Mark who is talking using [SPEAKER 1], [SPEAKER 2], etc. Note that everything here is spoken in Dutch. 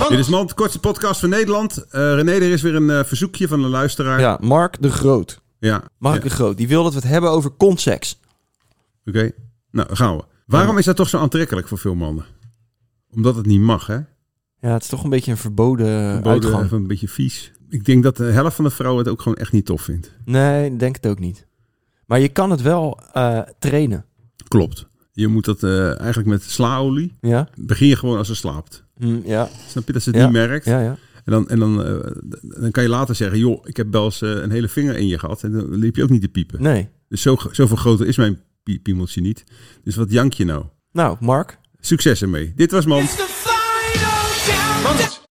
[SPEAKER 1] Dit
[SPEAKER 2] Mand.
[SPEAKER 1] is Mand, kortste podcast van Nederland. Eh, René, er is weer een eh, verzoekje van een luisteraar.
[SPEAKER 2] Ja, Mark de Groot.
[SPEAKER 1] Ja.
[SPEAKER 2] Mark
[SPEAKER 1] Ja,
[SPEAKER 2] de Groot. Die wil dat we het hebben over conseks.
[SPEAKER 1] Oké, nou dan gaan we. Waarom is dat toch zo aantrekkelijk voor veel mannen? Omdat het niet mag, hè?
[SPEAKER 2] Ja, het is toch een beetje een verboden,
[SPEAKER 1] Verboden,
[SPEAKER 2] Eh, uitgang.
[SPEAKER 1] even een beetje vies. Ik denk dat de helft van de vrouwen het ook gewoon echt niet tof vindt.
[SPEAKER 2] Nee, ik denk het ook niet. Maar je kan het wel eh, trainen.
[SPEAKER 1] Klopt. Je moet dat eh, eigenlijk met slaolie.
[SPEAKER 2] Ja?
[SPEAKER 1] Begin je gewoon als ze slaapt.
[SPEAKER 2] Hm, ja,
[SPEAKER 1] Snap je dat ze het
[SPEAKER 2] Ja.
[SPEAKER 1] niet merkt?
[SPEAKER 2] ja, ja.
[SPEAKER 1] En, dan, en dan, eh, d- dan kan je later zeggen, joh, ik heb wel eens eh, een hele vinger in je gehad. En dan liep je ook niet te piepen.
[SPEAKER 2] Nee.
[SPEAKER 1] Dus zo, zoveel groter is mijn pie- piemeltje niet. Dus wat jank je nou?
[SPEAKER 2] Nou, Mark.
[SPEAKER 1] Succes ermee. Dit was Mand.
[SPEAKER 3] It's the final countdown.